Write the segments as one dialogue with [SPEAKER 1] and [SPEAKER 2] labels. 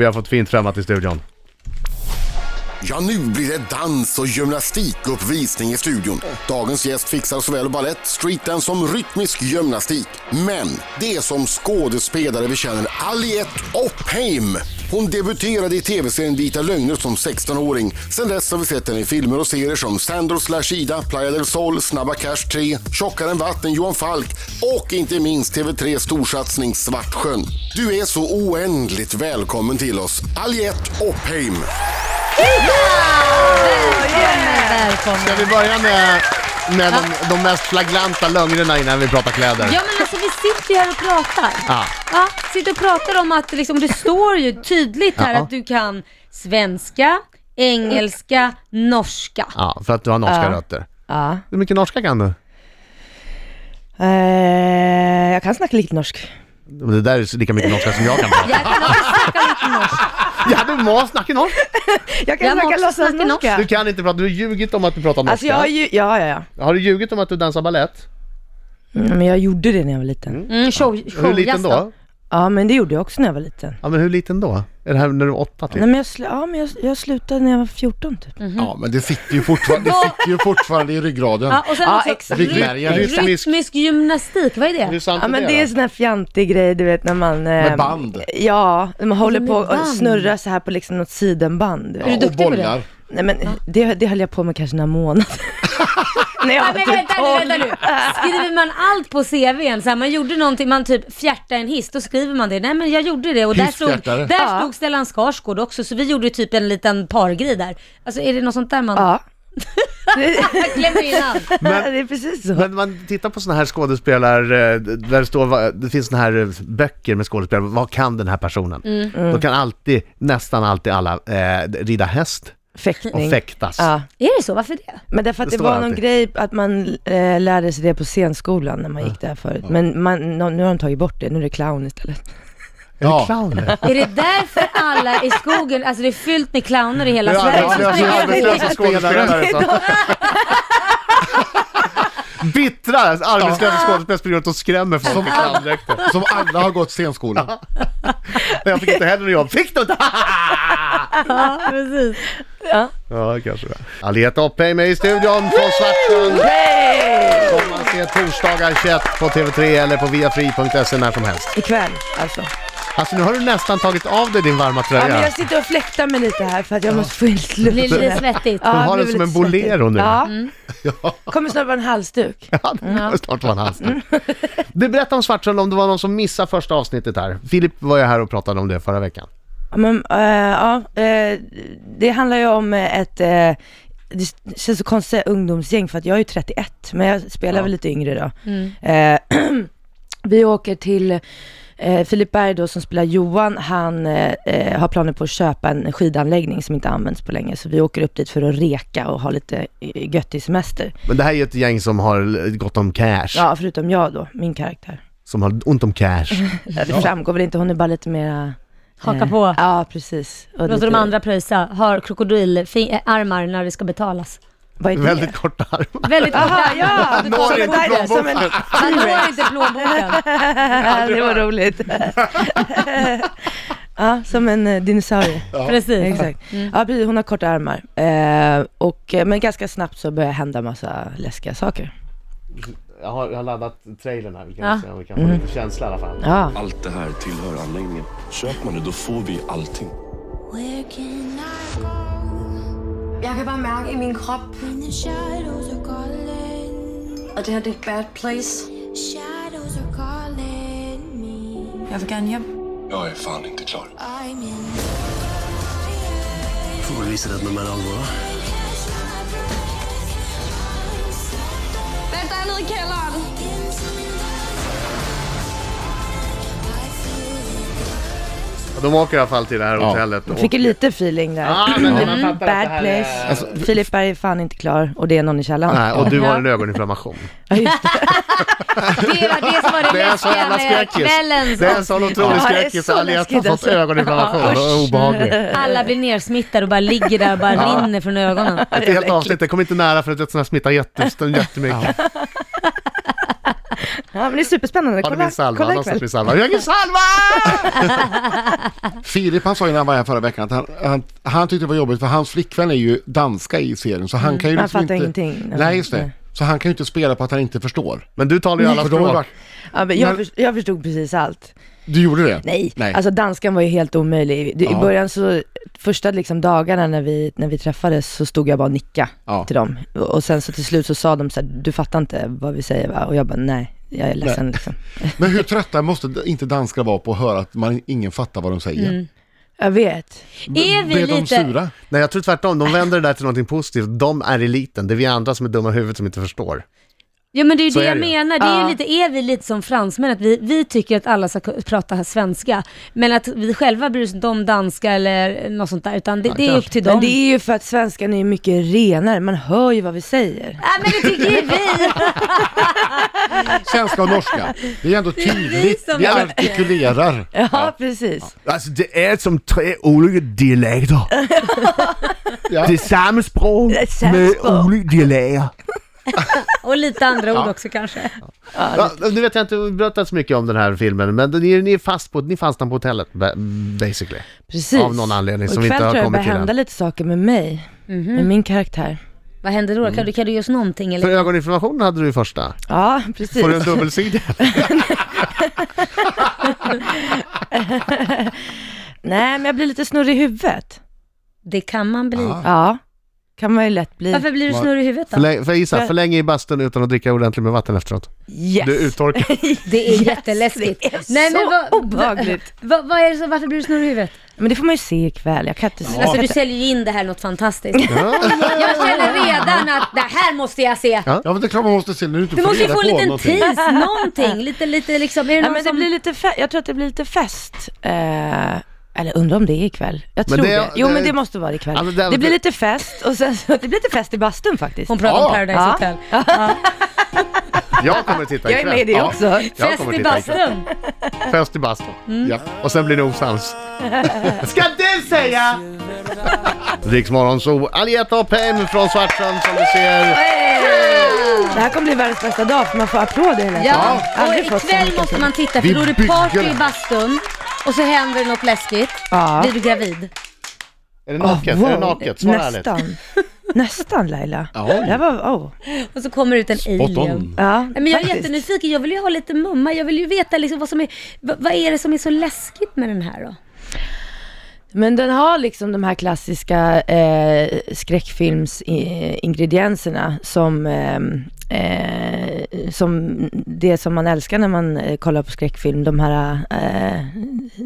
[SPEAKER 1] Vi har fått fint främmat i studion.
[SPEAKER 2] Ja, nu blir det dans och gymnastikuppvisning i studion. Dagens gäst fixar såväl ballett, streetdance som rytmisk gymnastik. Men det är som skådespelare vi känner Aliette Oppheim. Hon debuterade i tv-serien Vita lögner som 16-åring. Sedan dess har vi sett henne i filmer och serier som Sandor slash Ida, Playa del Sol, Snabba Cash 3, Tjockare än vatten, Johan Falk och inte minst TV3 storsatsning Svartsjön. Du är så oändligt välkommen till oss, Aliette Oppheim.
[SPEAKER 1] Ska vi börja med, med de, de mest flagranta lögnerna innan vi pratar kläder?
[SPEAKER 3] Ja men alltså vi sitter ju här och pratar.
[SPEAKER 1] Ja.
[SPEAKER 3] Ja, sitter och pratar om att liksom, det står ju tydligt här
[SPEAKER 1] Ja.
[SPEAKER 3] att du kan svenska, engelska, norska.
[SPEAKER 1] Ja, för att du har norska
[SPEAKER 4] Ja.
[SPEAKER 1] rötter.
[SPEAKER 4] Ja.
[SPEAKER 1] Hur mycket norska kan du?
[SPEAKER 4] Eh, jag kan snacka lite norsk.
[SPEAKER 1] Det där är lika mycket norska som jag kan prata.
[SPEAKER 3] Jag kan också snacka lite norska.
[SPEAKER 1] Ja, du må snacka norska!
[SPEAKER 4] Jag kan
[SPEAKER 3] Jag måste
[SPEAKER 4] snacka
[SPEAKER 3] snacka
[SPEAKER 4] låtsasnorska.
[SPEAKER 1] Du kan inte prata, du har ljugit om att du pratar norska.
[SPEAKER 4] Alltså jag har ju, ja ja ja.
[SPEAKER 1] Har du ljugit om att du dansar ballett?
[SPEAKER 4] Mm, men jag gjorde det när jag var liten.
[SPEAKER 3] Mm, show,
[SPEAKER 1] Hur liten då?
[SPEAKER 4] Ja men det gjorde jag också när jag var liten.
[SPEAKER 1] Ja, men hur liten då? Är det här när du var åtta typ?
[SPEAKER 4] Nej men jag, sl- ja, men jag, jag slutade när jag var 14 typ.
[SPEAKER 1] Mm.
[SPEAKER 2] Mm-hmm. Ja, men det sitter ju fortfarande, det sitter ju fortfarande i ryggraden.
[SPEAKER 3] Ja, och sen
[SPEAKER 4] Ja,
[SPEAKER 3] också,
[SPEAKER 4] exakt.
[SPEAKER 2] Ryggmärgen.
[SPEAKER 3] ry- rytmisk gymnastik, vad är
[SPEAKER 1] Är
[SPEAKER 3] det?
[SPEAKER 1] det sant
[SPEAKER 4] Ja men det är
[SPEAKER 1] då?
[SPEAKER 4] sån här fjantig grej du vet när man... eh,
[SPEAKER 2] Med band.
[SPEAKER 4] Ja, när man håller på och
[SPEAKER 3] Alltså, band.
[SPEAKER 4] snurrar så här på liksom något sidenband. du vet.
[SPEAKER 3] Är du
[SPEAKER 2] och
[SPEAKER 3] duktig på det?
[SPEAKER 2] bollar.
[SPEAKER 4] Nej men det, det höll jag på med kanske några månader. när jag
[SPEAKER 3] Ja,
[SPEAKER 4] var
[SPEAKER 3] men
[SPEAKER 4] typ
[SPEAKER 3] vänta nu,
[SPEAKER 4] 12.
[SPEAKER 3] vänta nu. Skriver man allt på CVn, så här, man gjorde någonting, man typ fjärtade en hiss, då skriver man det. Nej men jag gjorde det och där stod,
[SPEAKER 2] Hissfjärtare.
[SPEAKER 3] där stod Stellan Skarsgård också, så vi gjorde typ en liten pargrej där. Alltså är det något sånt där man...
[SPEAKER 4] Ja. Det,
[SPEAKER 3] Jag glömde in allt.
[SPEAKER 1] Men-
[SPEAKER 4] det är precis så.
[SPEAKER 1] Men man tittar på såna här skådespelare, eh, där det, står, va- det finns såna här eh, böcker med skådespelare, vad kan den här personen? Då kan alltid, nästan alltid alla eh, rida häst och
[SPEAKER 4] Fäktning.
[SPEAKER 1] fäktas.
[SPEAKER 4] Ja.
[SPEAKER 3] Är det så? Varför det?
[SPEAKER 4] Men därför att
[SPEAKER 1] Det
[SPEAKER 4] det,
[SPEAKER 1] står
[SPEAKER 4] var någon
[SPEAKER 1] alltid.
[SPEAKER 4] grej att man eh, lärde sig det på scenskolan när man gick där förut. Men man, nå- nu har de tagit bort det, nu är det clown istället.
[SPEAKER 1] Är det
[SPEAKER 2] Ja.
[SPEAKER 1] clowner?
[SPEAKER 3] Är det därför alla i skogen, alltså det är fyllt med clowner i hela
[SPEAKER 1] Det är
[SPEAKER 3] Sverige? som
[SPEAKER 1] arbetslösa-
[SPEAKER 3] springer runt.
[SPEAKER 1] arbetslösa skådespelare. så. Bittra arbetslösa skådespelare springer runt och skrämmer folk
[SPEAKER 2] Som
[SPEAKER 1] med
[SPEAKER 2] alla-
[SPEAKER 1] clowndräkter.
[SPEAKER 2] Som alla har gått scenskolan.
[SPEAKER 1] Jag fick inte heller något jobb. Fick du inte?
[SPEAKER 3] Ja, precis.
[SPEAKER 1] Ja, kanske det. Aliette Oppheim är i studion från Svartsjön. Som man ser torsdagar 21 på TV3 eller på viafri.se när som helst.
[SPEAKER 4] Ikväll alltså.
[SPEAKER 1] Alltså nu har du nästan tagit av dig din varma
[SPEAKER 4] Ja, men
[SPEAKER 1] tröja.
[SPEAKER 4] jag sitter och fläktar mig lite här för att jag måste få in lite luft.
[SPEAKER 3] Blir lite svettigt.
[SPEAKER 4] Ja,
[SPEAKER 1] Du har
[SPEAKER 4] jag
[SPEAKER 1] den som
[SPEAKER 4] blev lite
[SPEAKER 1] en bolero
[SPEAKER 4] svettig.
[SPEAKER 1] nu.
[SPEAKER 4] Ja. Kommer snart vara en halsduk.
[SPEAKER 1] Ja, det kommer snart vara en
[SPEAKER 4] Mm.
[SPEAKER 1] halsduk. Du berättade om Svartsjön om det var någon som missade första avsnittet här. Filip var ju här och pratade om det förra veckan.
[SPEAKER 4] Ja, Men, eh, ja, eh, det handlar ju om eh, ett, eh, det känns så konstigt att säga ungdomsgäng för att jag är ju 31, men jag spelar väl lite yngre då.
[SPEAKER 3] Mm.
[SPEAKER 4] Eh, vi åker till eh, Filip Berg då som spelar Johan, han eh, eh, har planer på att köpa en skidanläggning som inte används på länge, så vi åker upp dit för att reka och ha lite eh, gött i semester.
[SPEAKER 1] Men det här är ju ett gäng som har gått om cash.
[SPEAKER 4] Ja, förutom jag då, min karaktär.
[SPEAKER 1] Som har ont om cash.
[SPEAKER 4] Ja, det framgår väl inte, hon är bara lite mera...
[SPEAKER 3] Haka på.
[SPEAKER 4] Ja, precis. Och
[SPEAKER 3] Låter
[SPEAKER 4] lite-
[SPEAKER 3] de andra pröjsa. Har krokodilärmar när det ska betalas.
[SPEAKER 4] Vad är det?
[SPEAKER 1] Väldigt korta armar.
[SPEAKER 3] Väldigt
[SPEAKER 4] Aha, ja!
[SPEAKER 1] Når
[SPEAKER 4] Som
[SPEAKER 1] inte
[SPEAKER 4] en- som en-
[SPEAKER 3] Man når inte plånboken.
[SPEAKER 4] Ja, det var roligt. ja, som en eh, dinosaurie.
[SPEAKER 3] Precis.
[SPEAKER 4] Exakt. Ja, precis. Hon har korta armar. Eh, och, eh, men ganska snabbt så börjar hända massa läskiga saker.
[SPEAKER 1] Jag har, jag har laddat trailern här, vi kan
[SPEAKER 3] Ja.
[SPEAKER 1] se om vi kan få
[SPEAKER 4] Mm.
[SPEAKER 1] lite känsla i alla fall.
[SPEAKER 4] Ja.
[SPEAKER 5] Allt det här tillhör anläggningen. Köper man det, då får vi allting.
[SPEAKER 6] Where can I go
[SPEAKER 7] Jeg kan bare mærke i min krop,
[SPEAKER 6] when the shadows are calling?
[SPEAKER 7] og det her det er et bad place.
[SPEAKER 6] Shadows are calling me.
[SPEAKER 7] Jeg vil gerne hjem.
[SPEAKER 5] Jag är fan inte klar.
[SPEAKER 6] I'm in.
[SPEAKER 5] Får väl visa det att man
[SPEAKER 6] er
[SPEAKER 5] menar allvar.
[SPEAKER 6] Hvad er der nede i kælderen?
[SPEAKER 1] De åker i alla fall till det här hotellet.
[SPEAKER 4] Jag fick ju lite feeling där. Mm.
[SPEAKER 1] Ja, men man fattar att det
[SPEAKER 4] Bad
[SPEAKER 1] här är- Alltså,
[SPEAKER 4] place. Filip Berg är fan inte klar och det är någon i källaren.
[SPEAKER 1] Nej, och du har en ögoninflammation.
[SPEAKER 4] Ja, just det.
[SPEAKER 3] Det var det som var
[SPEAKER 1] Det
[SPEAKER 3] det
[SPEAKER 1] är en sån
[SPEAKER 3] läskiga
[SPEAKER 1] jävla
[SPEAKER 3] med
[SPEAKER 1] skräckis.
[SPEAKER 3] kvällens
[SPEAKER 1] Det är en sån otrolig
[SPEAKER 4] Ja, det är
[SPEAKER 1] skräckis.
[SPEAKER 4] så
[SPEAKER 1] Aliette har
[SPEAKER 4] läskigt
[SPEAKER 1] fått
[SPEAKER 4] alltså.
[SPEAKER 1] ögoninflammation.
[SPEAKER 4] Ja,
[SPEAKER 1] Det är
[SPEAKER 4] usch.
[SPEAKER 1] obehagligt.
[SPEAKER 3] Alla blir nersmittade och bara ligger där och bara rinner från ögonen.
[SPEAKER 1] Ett helt avsnitt, det kom inte nära för att sådana smittar jätte- jättemycket.
[SPEAKER 4] Ja, men det är superspännande.
[SPEAKER 1] Ja, det
[SPEAKER 4] Kolla,
[SPEAKER 1] blir Salva.
[SPEAKER 4] kolla
[SPEAKER 1] Någonstans blir
[SPEAKER 4] ikväll.
[SPEAKER 1] Salva. Jag är Salva!
[SPEAKER 8] Filip han sa ju när han var här förra veckan att han, han, han tyckte det var jobbigt för hans flickvän är ju danska i serien så han kan ju
[SPEAKER 4] Mm. han
[SPEAKER 8] liksom
[SPEAKER 4] fattar
[SPEAKER 8] inte...
[SPEAKER 4] ingenting.
[SPEAKER 8] Nej, just det.
[SPEAKER 4] Nej.
[SPEAKER 8] Så han kan ju inte spela på att han inte förstår.
[SPEAKER 1] Men du talar ju alla
[SPEAKER 8] För de har ju
[SPEAKER 1] språk.
[SPEAKER 8] varit-
[SPEAKER 4] Ja, men jag,
[SPEAKER 8] Men-
[SPEAKER 4] förstod, jag förstod precis allt.
[SPEAKER 8] Du gjorde det?
[SPEAKER 4] Nej.
[SPEAKER 8] Nej.
[SPEAKER 4] alltså danskan var ju helt omöjlig. I
[SPEAKER 8] Ja.
[SPEAKER 4] början så, första liksom dagarna när vi, när vi träffades så stod jag bara och nickade
[SPEAKER 8] Ja.
[SPEAKER 4] till dem. Och- Och sen så till slut så sa de så här, du fattar inte vad vi säger va? Och jag bara, nej, jag är ledsen liksom.
[SPEAKER 8] Men hur trötta måste inte danskar vara på att höra att man, ingen fattar vad de säger?
[SPEAKER 4] Mm. Jag vet.
[SPEAKER 3] Är vi
[SPEAKER 8] Blev de
[SPEAKER 3] lite...
[SPEAKER 8] sura?
[SPEAKER 1] Nej, jag tror tvärtom. De vänder det där till något positivt. De är eliten. Det är vi andra som är dumma i huvudet som inte förstår.
[SPEAKER 3] Ja men det är ju
[SPEAKER 1] Så
[SPEAKER 3] det
[SPEAKER 1] är
[SPEAKER 3] jag
[SPEAKER 1] det ju.
[SPEAKER 3] menar. Det är, ju
[SPEAKER 4] Ja.
[SPEAKER 3] lite, är vi lite som fransmän? Att vi, vi tycker att alla ska ku- prata här svenska. Men att vi själva bryr oss inte om danska eller något sånt där. Utan det, det är upp till dem.
[SPEAKER 4] Men det är ju för att svenskan är mycket renare, man hör ju vad vi säger.
[SPEAKER 3] Nej men det tycker ju vi!
[SPEAKER 8] Svenska och norska. Det är ändå tydligt.
[SPEAKER 3] som
[SPEAKER 8] Vi
[SPEAKER 3] är-
[SPEAKER 8] artikulerar.
[SPEAKER 4] Ja, precis.
[SPEAKER 1] Alltså det är som tre olika dialekter.
[SPEAKER 8] Ja.
[SPEAKER 1] Det är samma språk
[SPEAKER 4] Det är samma med språk.
[SPEAKER 1] olika dialekter.
[SPEAKER 3] Och lite andra ord också kanske.
[SPEAKER 1] Ja, nu vet jag inte, vi pratat så mycket om den här filmen, men ni, ni, är fast på, ni fastnar på hotellet ba- basically.
[SPEAKER 4] precis.
[SPEAKER 1] Av någon anledning
[SPEAKER 4] Och
[SPEAKER 1] som vi inte
[SPEAKER 4] ikväll
[SPEAKER 1] har
[SPEAKER 4] tror jag det
[SPEAKER 1] kommit till
[SPEAKER 4] börjar
[SPEAKER 1] än.
[SPEAKER 4] hända lite saker med mig, med min karaktär.
[SPEAKER 3] Vad händer då?
[SPEAKER 1] Mm.
[SPEAKER 3] Kan, du, kan du ge oss någonting
[SPEAKER 1] För
[SPEAKER 3] eller?
[SPEAKER 1] ögoninformationen hade du ju första.
[SPEAKER 4] Ja, precis.
[SPEAKER 1] Får du en dubbelsida?
[SPEAKER 4] Nej, men jag blir lite snurrig i huvudet.
[SPEAKER 3] Det kan man bli.
[SPEAKER 4] Ja, kan man ju lätt bli.
[SPEAKER 3] Varför blir du snurrig i huvudet då?
[SPEAKER 1] Förläng, för gissa, för länge i bastun utan att dricka ordentligt med vatten efteråt.
[SPEAKER 4] Yes.
[SPEAKER 1] Du är uttorkad.
[SPEAKER 3] Det är jätteläskigt.
[SPEAKER 4] det är så obehagligt.
[SPEAKER 3] Vad, vad är det som, varför blir du snurrig i huvudet?
[SPEAKER 4] Men det får man ju se ikväll. Jag kan inte säga.
[SPEAKER 3] Alltså du säljer ju in det här något fantastiskt. Jag känner redan att det här måste jag se.
[SPEAKER 8] Ja men det är klart man måste se när du inte
[SPEAKER 3] Du
[SPEAKER 8] får
[SPEAKER 3] måste ju
[SPEAKER 8] reda
[SPEAKER 3] få
[SPEAKER 8] på
[SPEAKER 3] en liten
[SPEAKER 8] någonting.
[SPEAKER 3] tis, någonting. Lite, lite liksom. Är det
[SPEAKER 4] Ja,
[SPEAKER 3] någon
[SPEAKER 4] men det
[SPEAKER 3] som...
[SPEAKER 4] blir lite fe- jag tror att det blir lite fest. Eh, eller undrar om det är ikväll. Jag
[SPEAKER 1] Men
[SPEAKER 4] tror
[SPEAKER 1] det-
[SPEAKER 4] det. Jo
[SPEAKER 1] det-
[SPEAKER 4] men det måste vara ikväll.
[SPEAKER 1] Ja, men det-
[SPEAKER 4] det, blir lite fest och sen så, det blir lite fest i bastun faktiskt.
[SPEAKER 3] Hon pratar om
[SPEAKER 8] Ja.
[SPEAKER 3] Paradise
[SPEAKER 4] Ja.
[SPEAKER 3] Hotel.
[SPEAKER 1] Jag kommer att titta
[SPEAKER 4] Jag är med i det
[SPEAKER 1] Ja,
[SPEAKER 4] också.
[SPEAKER 1] jag
[SPEAKER 3] Fest
[SPEAKER 1] kommer
[SPEAKER 3] i
[SPEAKER 1] att titta ikväll.
[SPEAKER 3] bastun. Mm.
[SPEAKER 1] Fest i bastun.
[SPEAKER 8] Ja.
[SPEAKER 1] Och sen blir det osams. Ska den säga! Riksmorgon, så Alietta och Pem från Svartsjön som du ser.
[SPEAKER 4] Det här kommer bli världens bästa dag för man får applåder hela tiden.
[SPEAKER 3] Ja, och
[SPEAKER 4] Aldrig fått så
[SPEAKER 3] ikväll
[SPEAKER 4] mycket
[SPEAKER 3] måste
[SPEAKER 4] applåder.
[SPEAKER 3] man titta för
[SPEAKER 8] Vi
[SPEAKER 3] då är det party
[SPEAKER 8] bygger.
[SPEAKER 3] i bastun och så händer det något läskigt.
[SPEAKER 4] Ja.
[SPEAKER 3] Blir du gravid?
[SPEAKER 1] Är det naket?
[SPEAKER 4] Wow,
[SPEAKER 1] Är det naket? Svara ärligt.
[SPEAKER 4] Nästan. Nästan Laila.
[SPEAKER 8] Ja.
[SPEAKER 4] Det här var, oh.
[SPEAKER 3] Och så kommer det ut en
[SPEAKER 8] Spot
[SPEAKER 3] alien.
[SPEAKER 8] on.
[SPEAKER 4] Ja,
[SPEAKER 3] Nej, Men jag är
[SPEAKER 4] faktiskt.
[SPEAKER 3] jättenyfiken, jag vill ju ha lite mumma, jag vill ju veta liksom vad som är, vad, vad är det som är så läskigt med den här då?
[SPEAKER 4] Men den har liksom de här klassiska eh, skräckfilmsingredienserna som, ehm, eh, som det som man älskar när man eh, kollar på skräckfilm. De här... Eh,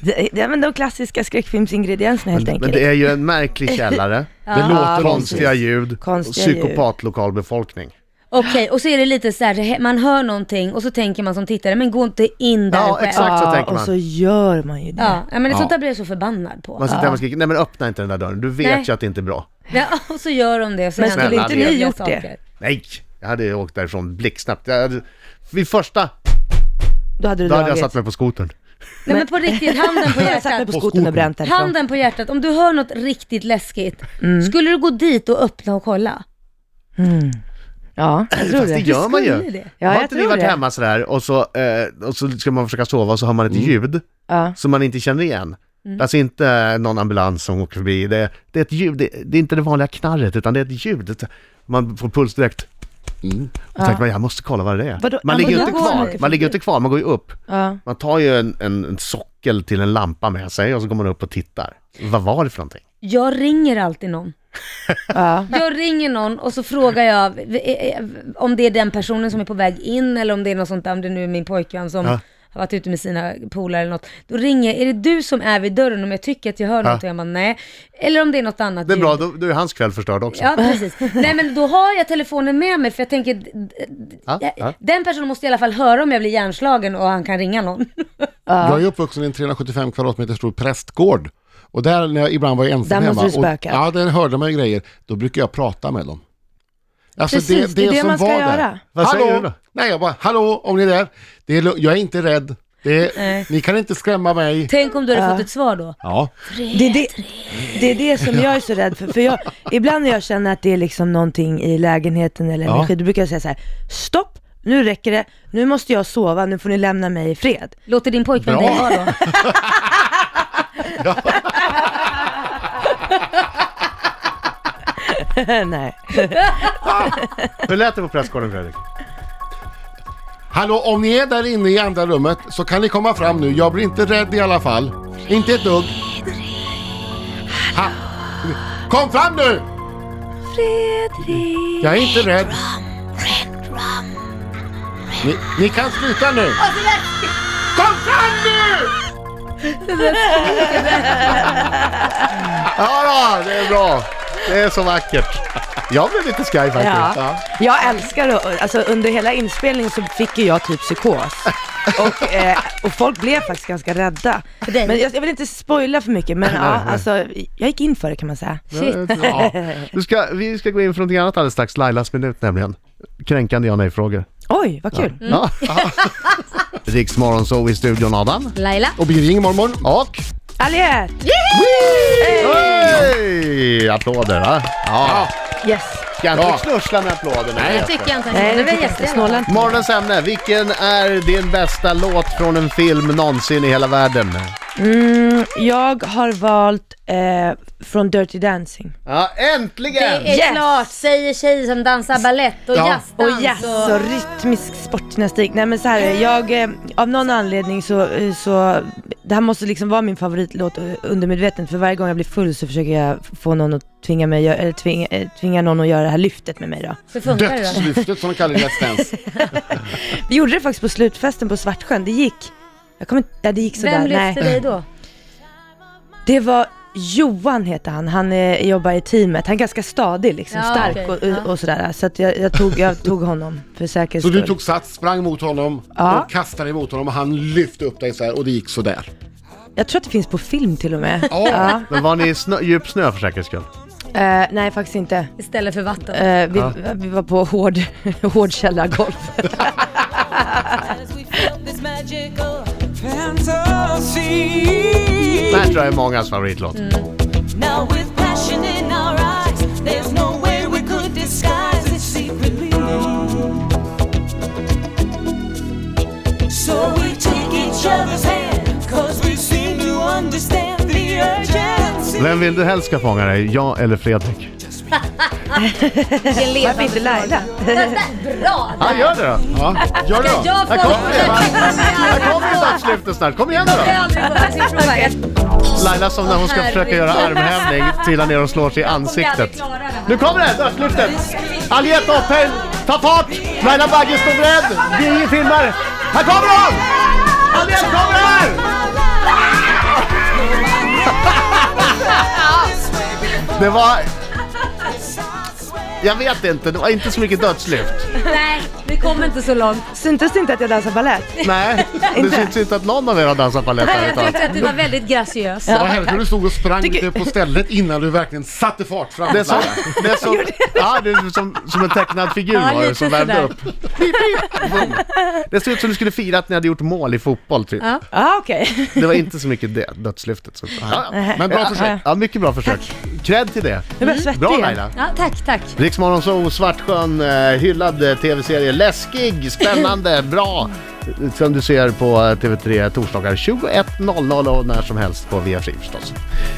[SPEAKER 4] de, de, men de klassiska skräckfilmsingredienserna helt
[SPEAKER 1] Men
[SPEAKER 4] enkelt.
[SPEAKER 1] det är ju en märklig källare.
[SPEAKER 8] Det låter
[SPEAKER 1] Konstiga ljud,
[SPEAKER 4] Konstiga ljud.
[SPEAKER 1] psykopatlokalbefolkning.
[SPEAKER 3] Okej, och så är det lite så här, man hör någonting och så tänker man som tittare, men gå inte in där
[SPEAKER 1] Ja,
[SPEAKER 3] själv.
[SPEAKER 1] exakt. så tänker man.
[SPEAKER 4] Och så gör man ju det.
[SPEAKER 3] Ja, ja, men sånt
[SPEAKER 8] Ja.
[SPEAKER 3] där blir jag så förbannad på.
[SPEAKER 1] Man sitter hemma och skriker, nej men öppna inte den där dörren, du vet
[SPEAKER 3] Nej.
[SPEAKER 1] ju att det inte är bra.
[SPEAKER 3] Ja, och så gör de det. och Så
[SPEAKER 4] Men
[SPEAKER 3] händer
[SPEAKER 1] skulle
[SPEAKER 3] det
[SPEAKER 1] inte
[SPEAKER 3] trevliga
[SPEAKER 4] ni gjort det?
[SPEAKER 3] saker.
[SPEAKER 1] Nej, jag hade åkt därifrån blixtsnabbt. Jag hade, vid första,
[SPEAKER 4] Då hade du
[SPEAKER 1] då hade jag
[SPEAKER 4] dragit.
[SPEAKER 1] satt mig på skotern.
[SPEAKER 3] Nej men på riktigt, handen på
[SPEAKER 4] Jag hade satt mig
[SPEAKER 3] hjärtat.
[SPEAKER 4] på skotern och bränt därifrån.
[SPEAKER 3] Handen på hjärtat, om du hör något riktigt läskigt, skulle du gå dit och öppna och kolla?
[SPEAKER 4] Ja, jag tror
[SPEAKER 1] Fast det
[SPEAKER 4] det.
[SPEAKER 1] gör man
[SPEAKER 3] skulle
[SPEAKER 1] ju.
[SPEAKER 3] det.
[SPEAKER 4] Ja,
[SPEAKER 1] har
[SPEAKER 4] jag
[SPEAKER 1] inte ni
[SPEAKER 4] tror
[SPEAKER 1] varit
[SPEAKER 4] det.
[SPEAKER 1] hemma sådär och så, eh, och så ska man försöka sova och så hör man ett ljud
[SPEAKER 4] Ja. Mm.
[SPEAKER 1] som man inte känner igen. Alltså inte någon ambulans som åker förbi. Det, det är ett ljud, det, det är inte det vanliga knarret utan det är ett ljud. Det- Man får puls direkt. Och tänker man, jag måste kolla vad det är.
[SPEAKER 4] Vadå?
[SPEAKER 1] Man
[SPEAKER 4] Ja,
[SPEAKER 1] ligger ju
[SPEAKER 4] men
[SPEAKER 1] inte
[SPEAKER 4] då går
[SPEAKER 1] kvar,
[SPEAKER 4] man ju
[SPEAKER 1] man ligger ju inte kvar, man går ju upp.
[SPEAKER 4] Ja.
[SPEAKER 1] Man tar ju en, en, en sockel till en lampa med sig och så går man upp och tittar. Vad var det för någonting?
[SPEAKER 3] Jag ringer alltid någon.
[SPEAKER 4] Ja.
[SPEAKER 3] Jag ringer någon och så frågar jag eh, eh, om det är den personen som är på väg in eller om det är något sånt där, om det nu är min pojkvän som
[SPEAKER 1] Ja.
[SPEAKER 3] har varit ute med sina polare eller något. Då ringer jag, är det du som är vid dörren om jag tycker att jag hör något? Och jag bara, nej. Eller om det är något annat
[SPEAKER 1] Det är
[SPEAKER 3] ljud.
[SPEAKER 1] bra, då, då är hans kväll förstörd också.
[SPEAKER 3] Ja, precis. Nej, men då har jag telefonen med mig för jag tänker, d- d-
[SPEAKER 1] Ja,
[SPEAKER 3] jag-
[SPEAKER 1] ja.
[SPEAKER 3] den personen måste i alla fall höra om jag blir hjärnslagen och han kan ringa någon.
[SPEAKER 8] Jag är uppvuxen i en 375 kvadratmeter stor prästgård. Och där när jag ibland var ensam
[SPEAKER 4] Där måste
[SPEAKER 8] hemma.
[SPEAKER 4] du spöka.
[SPEAKER 8] Och, ja, där hörde man ju grejer. Då brukar jag prata med dem. Alltså
[SPEAKER 4] Precis, det är det man ska
[SPEAKER 8] var där.
[SPEAKER 4] göra.
[SPEAKER 1] Vad säger
[SPEAKER 8] hallå?
[SPEAKER 1] du då?
[SPEAKER 8] Nej, jag bara, hallå, om ni är där. Det är, lu- jag är inte rädd. Det är, ni kan inte skrämma mig.
[SPEAKER 3] Tänk om du hade fått ett svar då.
[SPEAKER 8] Ja,
[SPEAKER 4] Det är det, det är det som jag är så rädd för. för jag, ibland när jag känner att det är liksom någonting i lägenheten eller
[SPEAKER 8] Ja.
[SPEAKER 4] energi, då brukar jag säga så här: stopp, nu räcker det, nu måste jag sova, nu får ni lämna mig i fred.
[SPEAKER 3] Låter din pojkvän
[SPEAKER 8] Bra.
[SPEAKER 3] dig vara då?
[SPEAKER 4] Nej.
[SPEAKER 1] Hur lät det på pressgården Fredrik?
[SPEAKER 8] Hallå, om ni är där inne i andra rummet så kan ni komma fram nu. Jag blir inte rädd i alla fall. Inte ett dugg. Ha. Kom fram nu! Fredrik! Jag är inte rädd. Ni, ni kan sluta nu! Kom fram nu!
[SPEAKER 1] Ja, ja, det är bra. Det är så vackert. Jag blev lite sky faktiskt.
[SPEAKER 4] Ja. Jag älskar att, alltså under hela inspelningen så fick ju jag typ psykos. Och, eh, och folk blev faktiskt ganska rädda.
[SPEAKER 3] dig?
[SPEAKER 4] Men jag, jag vill inte spoila för mycket, men ja, alltså, jag gick in för det kan man säga.
[SPEAKER 1] Ja. Du ska, vi ska gå in för någonting annat alldeles strax, Lailas minut nämligen. Kränkande ja och nej-frågor.
[SPEAKER 4] Oj, vad kul.
[SPEAKER 1] Ja. Riks Morgonzoo i studion, Adam.
[SPEAKER 3] Laila?
[SPEAKER 8] Och Birging mormor.
[SPEAKER 1] Och...
[SPEAKER 4] Aliette!
[SPEAKER 1] Hej! Applåder, va? Ja.
[SPEAKER 4] Yes!
[SPEAKER 1] Ska
[SPEAKER 8] Ja.
[SPEAKER 1] inte knussla med applåderna.
[SPEAKER 8] Nej.
[SPEAKER 1] Peter.
[SPEAKER 3] Tycker jag inte.
[SPEAKER 4] Nej,
[SPEAKER 3] Det
[SPEAKER 4] det
[SPEAKER 3] var
[SPEAKER 4] tycker jag inte. Snåla
[SPEAKER 3] jättebra.
[SPEAKER 4] inte.
[SPEAKER 1] Morgonens ämne, vilken är din bästa låt från en film någonsin i hela världen?
[SPEAKER 4] Mm, jag har valt eh, från Dirty Dancing.
[SPEAKER 1] Ja,
[SPEAKER 3] Det
[SPEAKER 1] äntligen!
[SPEAKER 3] är
[SPEAKER 4] Yes!
[SPEAKER 3] klart, säger tjejer som dansar ballett och
[SPEAKER 8] Ja.
[SPEAKER 4] Och
[SPEAKER 3] jazzdans.
[SPEAKER 4] jazz och rytmisk sportgymnastik. Nej men så här, jag, eh, av någon anledning så, eh, så, det här måste liksom vara min favoritlåt eh, undermedvetet för varje gång jag blir full så försöker jag f- få någon att tvinga mig, gö- eller tvinga, eh, tvinga någon att göra det här lyftet med mig då.
[SPEAKER 3] Hur funkar det då?
[SPEAKER 8] Dödslyftet som de kallar det i Let's Dance.
[SPEAKER 4] Vi gjorde det faktiskt på slutfesten på Svartsjön, det gick, jag kommer inte, nej, det gick sådär,
[SPEAKER 3] Vem lyfter
[SPEAKER 4] nej.
[SPEAKER 3] dig då?
[SPEAKER 4] Det var Johan heter han, han eh, jobbar i teamet, han är ganska stadig liksom,
[SPEAKER 3] Ja,
[SPEAKER 4] stark
[SPEAKER 3] okej.
[SPEAKER 4] och, och,
[SPEAKER 3] Ja.
[SPEAKER 4] och sådär. Så att jag, jag, tog, jag tog honom för säkerhets
[SPEAKER 8] Så
[SPEAKER 4] skull.
[SPEAKER 8] du tog sats, sprang mot honom
[SPEAKER 4] Ja.
[SPEAKER 8] och kastade emot honom och han lyfte upp dig så här och det gick sådär.
[SPEAKER 4] Jag tror att det finns på film till och med.
[SPEAKER 8] Ja.
[SPEAKER 4] Ja.
[SPEAKER 1] Men var ni i snö, djup snö för säkerhets skull?
[SPEAKER 4] Eh, nej faktiskt inte.
[SPEAKER 3] Istället för vatten.
[SPEAKER 4] Eh, vi, vi var på hård, hård källargolf.
[SPEAKER 1] Det här tror jag är mångas favoritlåt. Vem vill du helst ska fånga dig? Jag eller Fredrik?
[SPEAKER 3] Vilken
[SPEAKER 4] Varför
[SPEAKER 3] levande
[SPEAKER 4] inte Laila?
[SPEAKER 3] Bra!
[SPEAKER 1] Ja, gör det då!
[SPEAKER 8] Ja, gör det då.
[SPEAKER 3] Jag får
[SPEAKER 1] Här kommer det! va?
[SPEAKER 3] Jag
[SPEAKER 1] Här kommer dagslyftet snart. Kom igen nu då! Laila som när hon ska
[SPEAKER 3] Herregud.
[SPEAKER 1] försöka göra armhävning trillar ner och slår sig i ansiktet. Nu kommer det! Dödslyftet! Aliette Opheim, ta fart! Laila Bagge, stå beredd! Vi filmar! Här kommer hon! Aliette kommer här! Det var... Jag vet inte, det var inte så mycket dödslyft.
[SPEAKER 3] Nej, vi kommer inte så långt.
[SPEAKER 4] Syntes det inte att jag dansade balett?
[SPEAKER 1] Nej, det syns inte att någon av er har dansat balett här
[SPEAKER 3] Jag
[SPEAKER 1] ett tag.
[SPEAKER 3] tyckte att du var väldigt graciös.
[SPEAKER 8] Vad hände när du stod och sprang lite på stället innan du verkligen satte fart framåt?
[SPEAKER 1] Det är som,
[SPEAKER 8] Laila?
[SPEAKER 1] det är som, ja, det är som, som en tecknad figur
[SPEAKER 3] Ja,
[SPEAKER 1] var det
[SPEAKER 3] lite
[SPEAKER 1] som värmde
[SPEAKER 3] sådär.
[SPEAKER 1] upp. Pip, pip, boom. Det ser ut som du skulle fira att ni hade gjort mål i fotboll typ.
[SPEAKER 3] Ja.
[SPEAKER 4] Ja okej.
[SPEAKER 1] Det var inte så mycket det, dödslyftet. Så. Ja, ja.
[SPEAKER 8] Men bra försök.
[SPEAKER 1] ja, mycket bra försök. Cred till det.
[SPEAKER 4] Jag börjar svettig
[SPEAKER 1] Bra
[SPEAKER 4] igen.
[SPEAKER 1] Laila.
[SPEAKER 3] Ja, tack, tack.
[SPEAKER 1] Riksmorgon så Svartsjön, eh, hyllad eh, tv-serie. Läskig, spännande, bra. Som du ser på eh, TV3 torsdagar 21.00 och när som helst på Viafree förstås.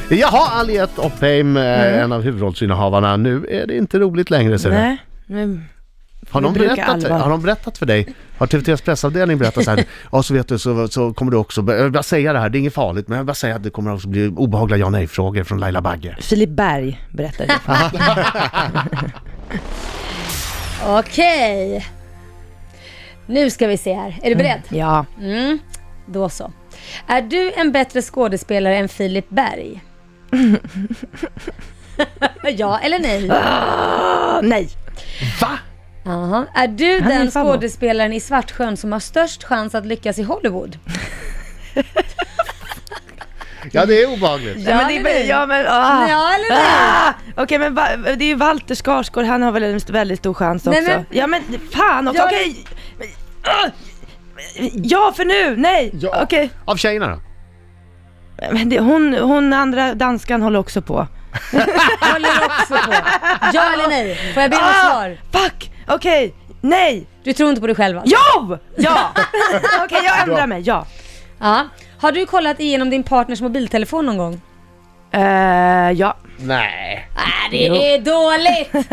[SPEAKER 1] Jaha, Aliette Oppheim, eh, en av huvudrollsinnehavarna. Nu är det inte roligt längre ser du.
[SPEAKER 4] Mm. Nej, men
[SPEAKER 1] Har
[SPEAKER 4] Det
[SPEAKER 1] någon,
[SPEAKER 4] brukar
[SPEAKER 1] berättat,
[SPEAKER 4] allvar.
[SPEAKER 1] har någon berättat för dig? Har TV3s pressavdelning berättat så här? ja, så vet du, så, så kommer du också... Jag vill bara säga det här, det är inget farligt, men jag vill bara säga att det kommer också bli obehagliga ja nej-frågor från Laila Bagge.
[SPEAKER 4] Filip Berg berättade det.
[SPEAKER 3] Okej. Nu ska vi se här. Är du beredd?
[SPEAKER 4] Ja.
[SPEAKER 3] Då så. Är du en bättre skådespelare än Filip Berg? ja eller nej?
[SPEAKER 4] Ah, nej.
[SPEAKER 3] Aha. Är du
[SPEAKER 4] Han är
[SPEAKER 3] den
[SPEAKER 4] min farbror.
[SPEAKER 3] skådespelaren i Svartsjön som har störst chans att lyckas i Hollywood?
[SPEAKER 1] Ja, det är obehagligt.
[SPEAKER 4] Ja, men det, är väl- ja men ah.
[SPEAKER 3] Ja eller nej?
[SPEAKER 4] Ah! Okej men va, det är ju Walter Skarsgård, han har väl en väldigt stor chans
[SPEAKER 3] Nej,
[SPEAKER 4] också.
[SPEAKER 3] men-
[SPEAKER 4] Ja men fan också,
[SPEAKER 3] Ja,
[SPEAKER 4] okej. Men- ah! Ja för nu, nej!
[SPEAKER 8] Ja.
[SPEAKER 4] Okej.
[SPEAKER 1] Av tjejerna då?
[SPEAKER 4] Men det, hon, hon andra danskan håller också på.
[SPEAKER 3] Håller också på. Ja eller nej? Får jag be om ett
[SPEAKER 4] Ah!
[SPEAKER 3] svar?
[SPEAKER 4] Fuck! Okej, Nej!
[SPEAKER 3] Du tror inte på dig själv alltså?
[SPEAKER 4] Jo! Ja! Okej, jag ändrar mig. Ja.
[SPEAKER 3] Ja. Har du kollat igenom din partners mobiltelefon någon gång?
[SPEAKER 4] Eh, ja.
[SPEAKER 1] Nej.
[SPEAKER 3] Nej, det är dåligt!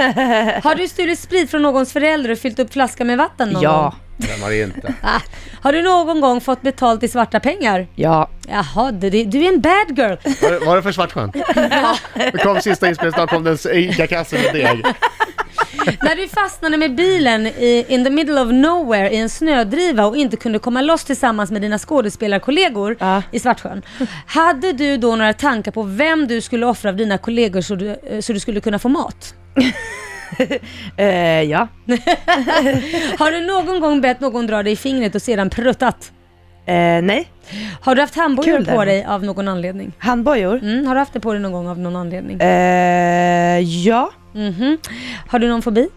[SPEAKER 3] Har du stulit sprit från någons förälder och fyllt upp flaskan med vatten någon gång?
[SPEAKER 4] Ja.
[SPEAKER 1] Vem har det inte?
[SPEAKER 3] Ah, Har du någon gång fått betalt i svarta pengar?
[SPEAKER 4] Ja.
[SPEAKER 3] Jaha, du, du du är en bad girl.
[SPEAKER 1] Var det, var det för svartsjön? Det kom sista inspelningsdagen, kom den ICA-kassen med deg.
[SPEAKER 3] När du fastnade med bilen i, in the middle of nowhere i en snödriva och inte kunde komma loss tillsammans med dina skådespelarkollegor
[SPEAKER 4] Ja.
[SPEAKER 3] i Svartsjön. Hade du då några tankar på vem du skulle offra av dina kollegor så du, eh, så du skulle kunna få mat?
[SPEAKER 4] Eh, ja.
[SPEAKER 3] Har du någon gång bett någon dra dig i fingret och sedan pruttat?
[SPEAKER 4] Eh, nej.
[SPEAKER 3] Har du haft handbojor på
[SPEAKER 4] Kul däremot.
[SPEAKER 3] dig av någon anledning?
[SPEAKER 4] Handbojor?
[SPEAKER 3] Mm, har du haft det på dig någon gång av någon anledning?
[SPEAKER 4] Eh, ja.
[SPEAKER 3] Mhm. Har du någon fobi?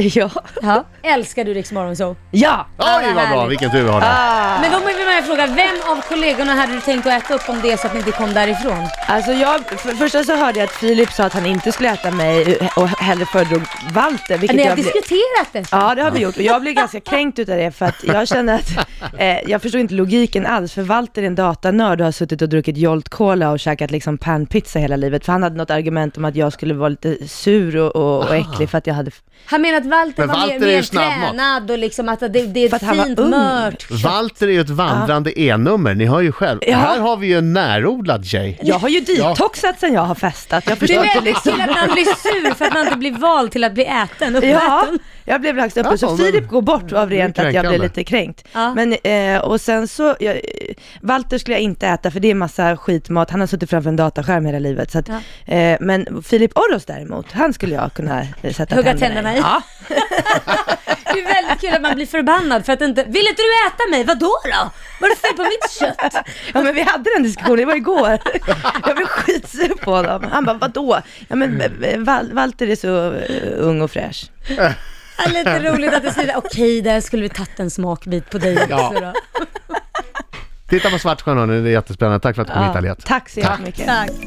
[SPEAKER 4] ja.
[SPEAKER 3] Ja. Älskar du Rix Morgonzoo?
[SPEAKER 4] Ja!
[SPEAKER 1] Oj vad bra, vilken tur vi har där.
[SPEAKER 3] Men då vill man ju fråga, vem av kollegorna hade du tänkt att äta upp om det är så att ni inte kom därifrån?
[SPEAKER 4] Alltså jag, för för första så hörde jag att Filip sa att han inte skulle äta mig och hellre föredrog Walter. Vilket
[SPEAKER 3] Ni har
[SPEAKER 4] jag blev-
[SPEAKER 3] diskuterat det.
[SPEAKER 4] Ja det har vi gjort och jag blev ganska kränkt utav det för att jag kände att eh, jag förstod inte logiken alls för Walter är en datanörd och har suttit och druckit Jolt Cola och käkat liksom panpizza hela livet för han hade något argument om att jag skulle vara lite sur och, och, och äcklig för att jag hade
[SPEAKER 3] Han menar att Walter
[SPEAKER 1] Men
[SPEAKER 3] var
[SPEAKER 1] Walter
[SPEAKER 3] mer,
[SPEAKER 1] är ju
[SPEAKER 3] mer
[SPEAKER 1] snabbmat.
[SPEAKER 3] tränad och liksom att det, det är
[SPEAKER 4] För att han
[SPEAKER 3] ett
[SPEAKER 4] var
[SPEAKER 3] fint,
[SPEAKER 4] ung.
[SPEAKER 3] mört.
[SPEAKER 1] Walter är ju ett vandrande E-nummer, ni hör ju själv.
[SPEAKER 4] Ja.
[SPEAKER 1] Här har vi ju en närodlad tjej.
[SPEAKER 4] Jag har ju detoxat sen jag har festat, jag
[SPEAKER 3] Ah. Det är
[SPEAKER 4] förstår inte
[SPEAKER 3] väl
[SPEAKER 4] liksom
[SPEAKER 3] till att man blir sur för att man inte blir vald till att bli äten,
[SPEAKER 4] Ja,
[SPEAKER 3] uppäten.
[SPEAKER 4] jag blev högst uppe,
[SPEAKER 1] Ja,
[SPEAKER 4] så
[SPEAKER 1] men-
[SPEAKER 4] Filip går bort av rent att jag
[SPEAKER 1] kränkande.
[SPEAKER 4] blev lite kränkt.
[SPEAKER 3] Ja.
[SPEAKER 4] Men, eh, och sen så, jag, Walter skulle jag inte äta för det är massa skitmat, han har suttit framför en dataskärm hela livet. Så att, eh, men Filip Orros däremot, han skulle jag kunna eh, sätta
[SPEAKER 3] Hugga tänderna i.
[SPEAKER 4] Ja.
[SPEAKER 3] Det är väldigt kul att man blir förbannad för att inte... Vill inte du äta mig? Vadå då? Vad är det fel på mitt kött?
[SPEAKER 4] ja, men vi hade den diskussionen, det var igår. jag blev skitsur på honom. Han bara, vadå? Ja men eh, Val- Walter är så eh, ung och fräsch.
[SPEAKER 3] Det är lite roligt att det säger okej, där skulle vi tagit en smakbit på dig också då.
[SPEAKER 1] Titta på Svartsjön hörni, det är jättespännande. Tack för att du kom hit Aliette.
[SPEAKER 4] Tack så jättemycket.
[SPEAKER 3] Tack.